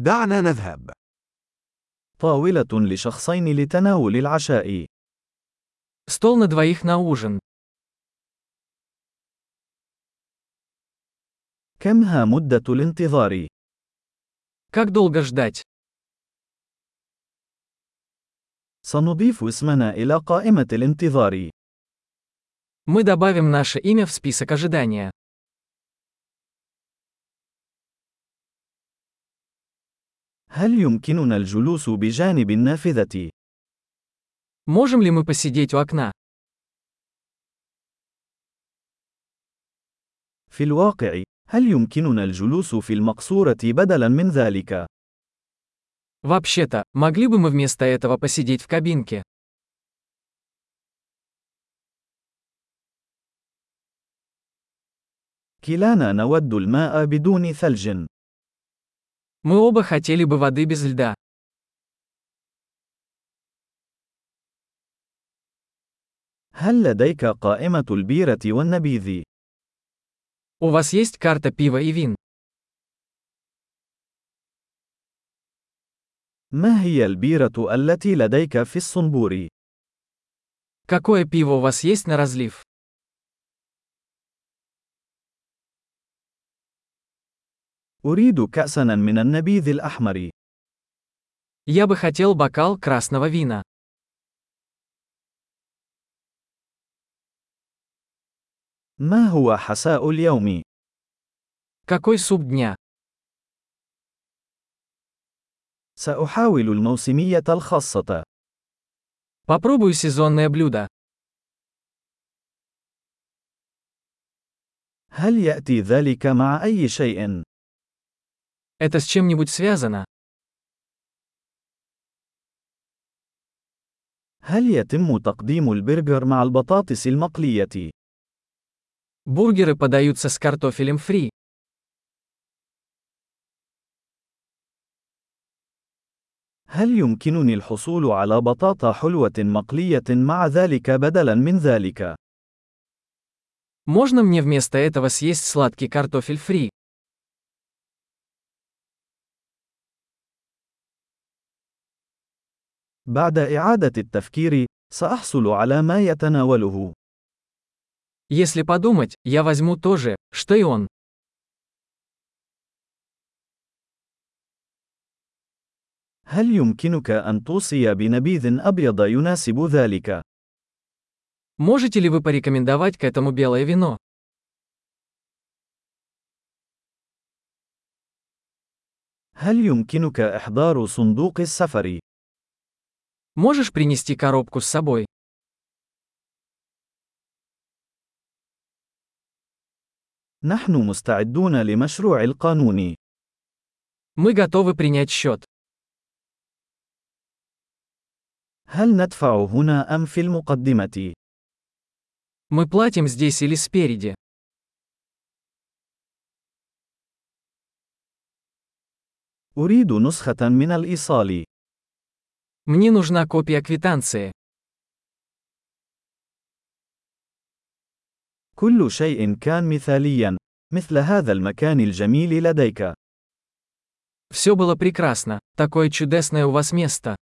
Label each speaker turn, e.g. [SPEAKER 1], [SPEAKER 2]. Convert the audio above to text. [SPEAKER 1] دعنا نذهب.
[SPEAKER 2] طاولة لشخصين لتناول العشاء.
[SPEAKER 3] Стол на двоих на ужин.
[SPEAKER 2] كمها مدة الانتظار؟
[SPEAKER 3] Как долго ждать?
[SPEAKER 2] سنضيف اسمنا إلى قائمة الانتظار.
[SPEAKER 3] Мы добавим наше имя в список ожидания.
[SPEAKER 2] هل يمكننا الجلوس بجانب النافذة؟
[SPEAKER 3] Можем ли мы посидеть у окна?
[SPEAKER 2] في الواقع، هل يمكننا الجلوس في المقصورة بدلاً من ذلك؟
[SPEAKER 3] Вообще-то, могли бы мы вместо этого посидеть в кабинке?
[SPEAKER 2] كلانا نود الماء بدون ثلج.
[SPEAKER 3] Мы оба хотели бы воды без льда.
[SPEAKER 2] هل لديك قائمة البيرة والنبيذ؟
[SPEAKER 3] У вас есть карта пива и вин?
[SPEAKER 2] ما هي البيرة التي لديك في الصنبور؟
[SPEAKER 3] Какое пиво у вас есть на разлив?
[SPEAKER 2] أريد كأساً من النبيذ الأحمر.
[SPEAKER 3] Я бы хотел бокал красного вина.
[SPEAKER 2] ما هو حساء اليوم؟
[SPEAKER 3] Какой суп дня?
[SPEAKER 2] سأحاول الموسمية الخاصة.
[SPEAKER 3] Попробую сезонное блюдо.
[SPEAKER 2] هل يأتي ذلك مع أي شيء؟
[SPEAKER 3] Это с чем-нибудь связано?
[SPEAKER 2] هل يتم تقديم البرجر مع البطاطس المقلية؟
[SPEAKER 3] Бургеры подаются с картофелем фри.
[SPEAKER 2] هل يمكنني الحصول على بطاطا حلوة مقلية مع ذلك بدلاً من ذلك؟
[SPEAKER 3] Можно мне вместо этого съесть сладкий картофель фри?
[SPEAKER 2] بعد إعادة التفكير، سأحصل على ما يتناوله.
[SPEAKER 3] Если подумать, я возьму то же, что и он.
[SPEAKER 2] هل يمكنك أن توصي بنبيذ أبيض يناسب ذلك؟
[SPEAKER 3] Можете ли вы порекомендовать к этому белое вино?
[SPEAKER 2] هل يمكنك إحضار صندوق السفر؟
[SPEAKER 3] Можешь принести коробку с собой?
[SPEAKER 2] نحن مستعدون لمشروع القانون.
[SPEAKER 3] Мы готовы принять счет.
[SPEAKER 2] هل ندفع هنا أم في المقدمة؟
[SPEAKER 3] Мы платим здесь или спереди.
[SPEAKER 2] أريد نسخة من الإيصال.
[SPEAKER 3] Мне нужна копия квитанции.
[SPEAKER 2] كل شيء كان مثاليا، مثل هذا المكان الجميل لديك.
[SPEAKER 3] Все было прекрасно. Такое чудесное у вас место.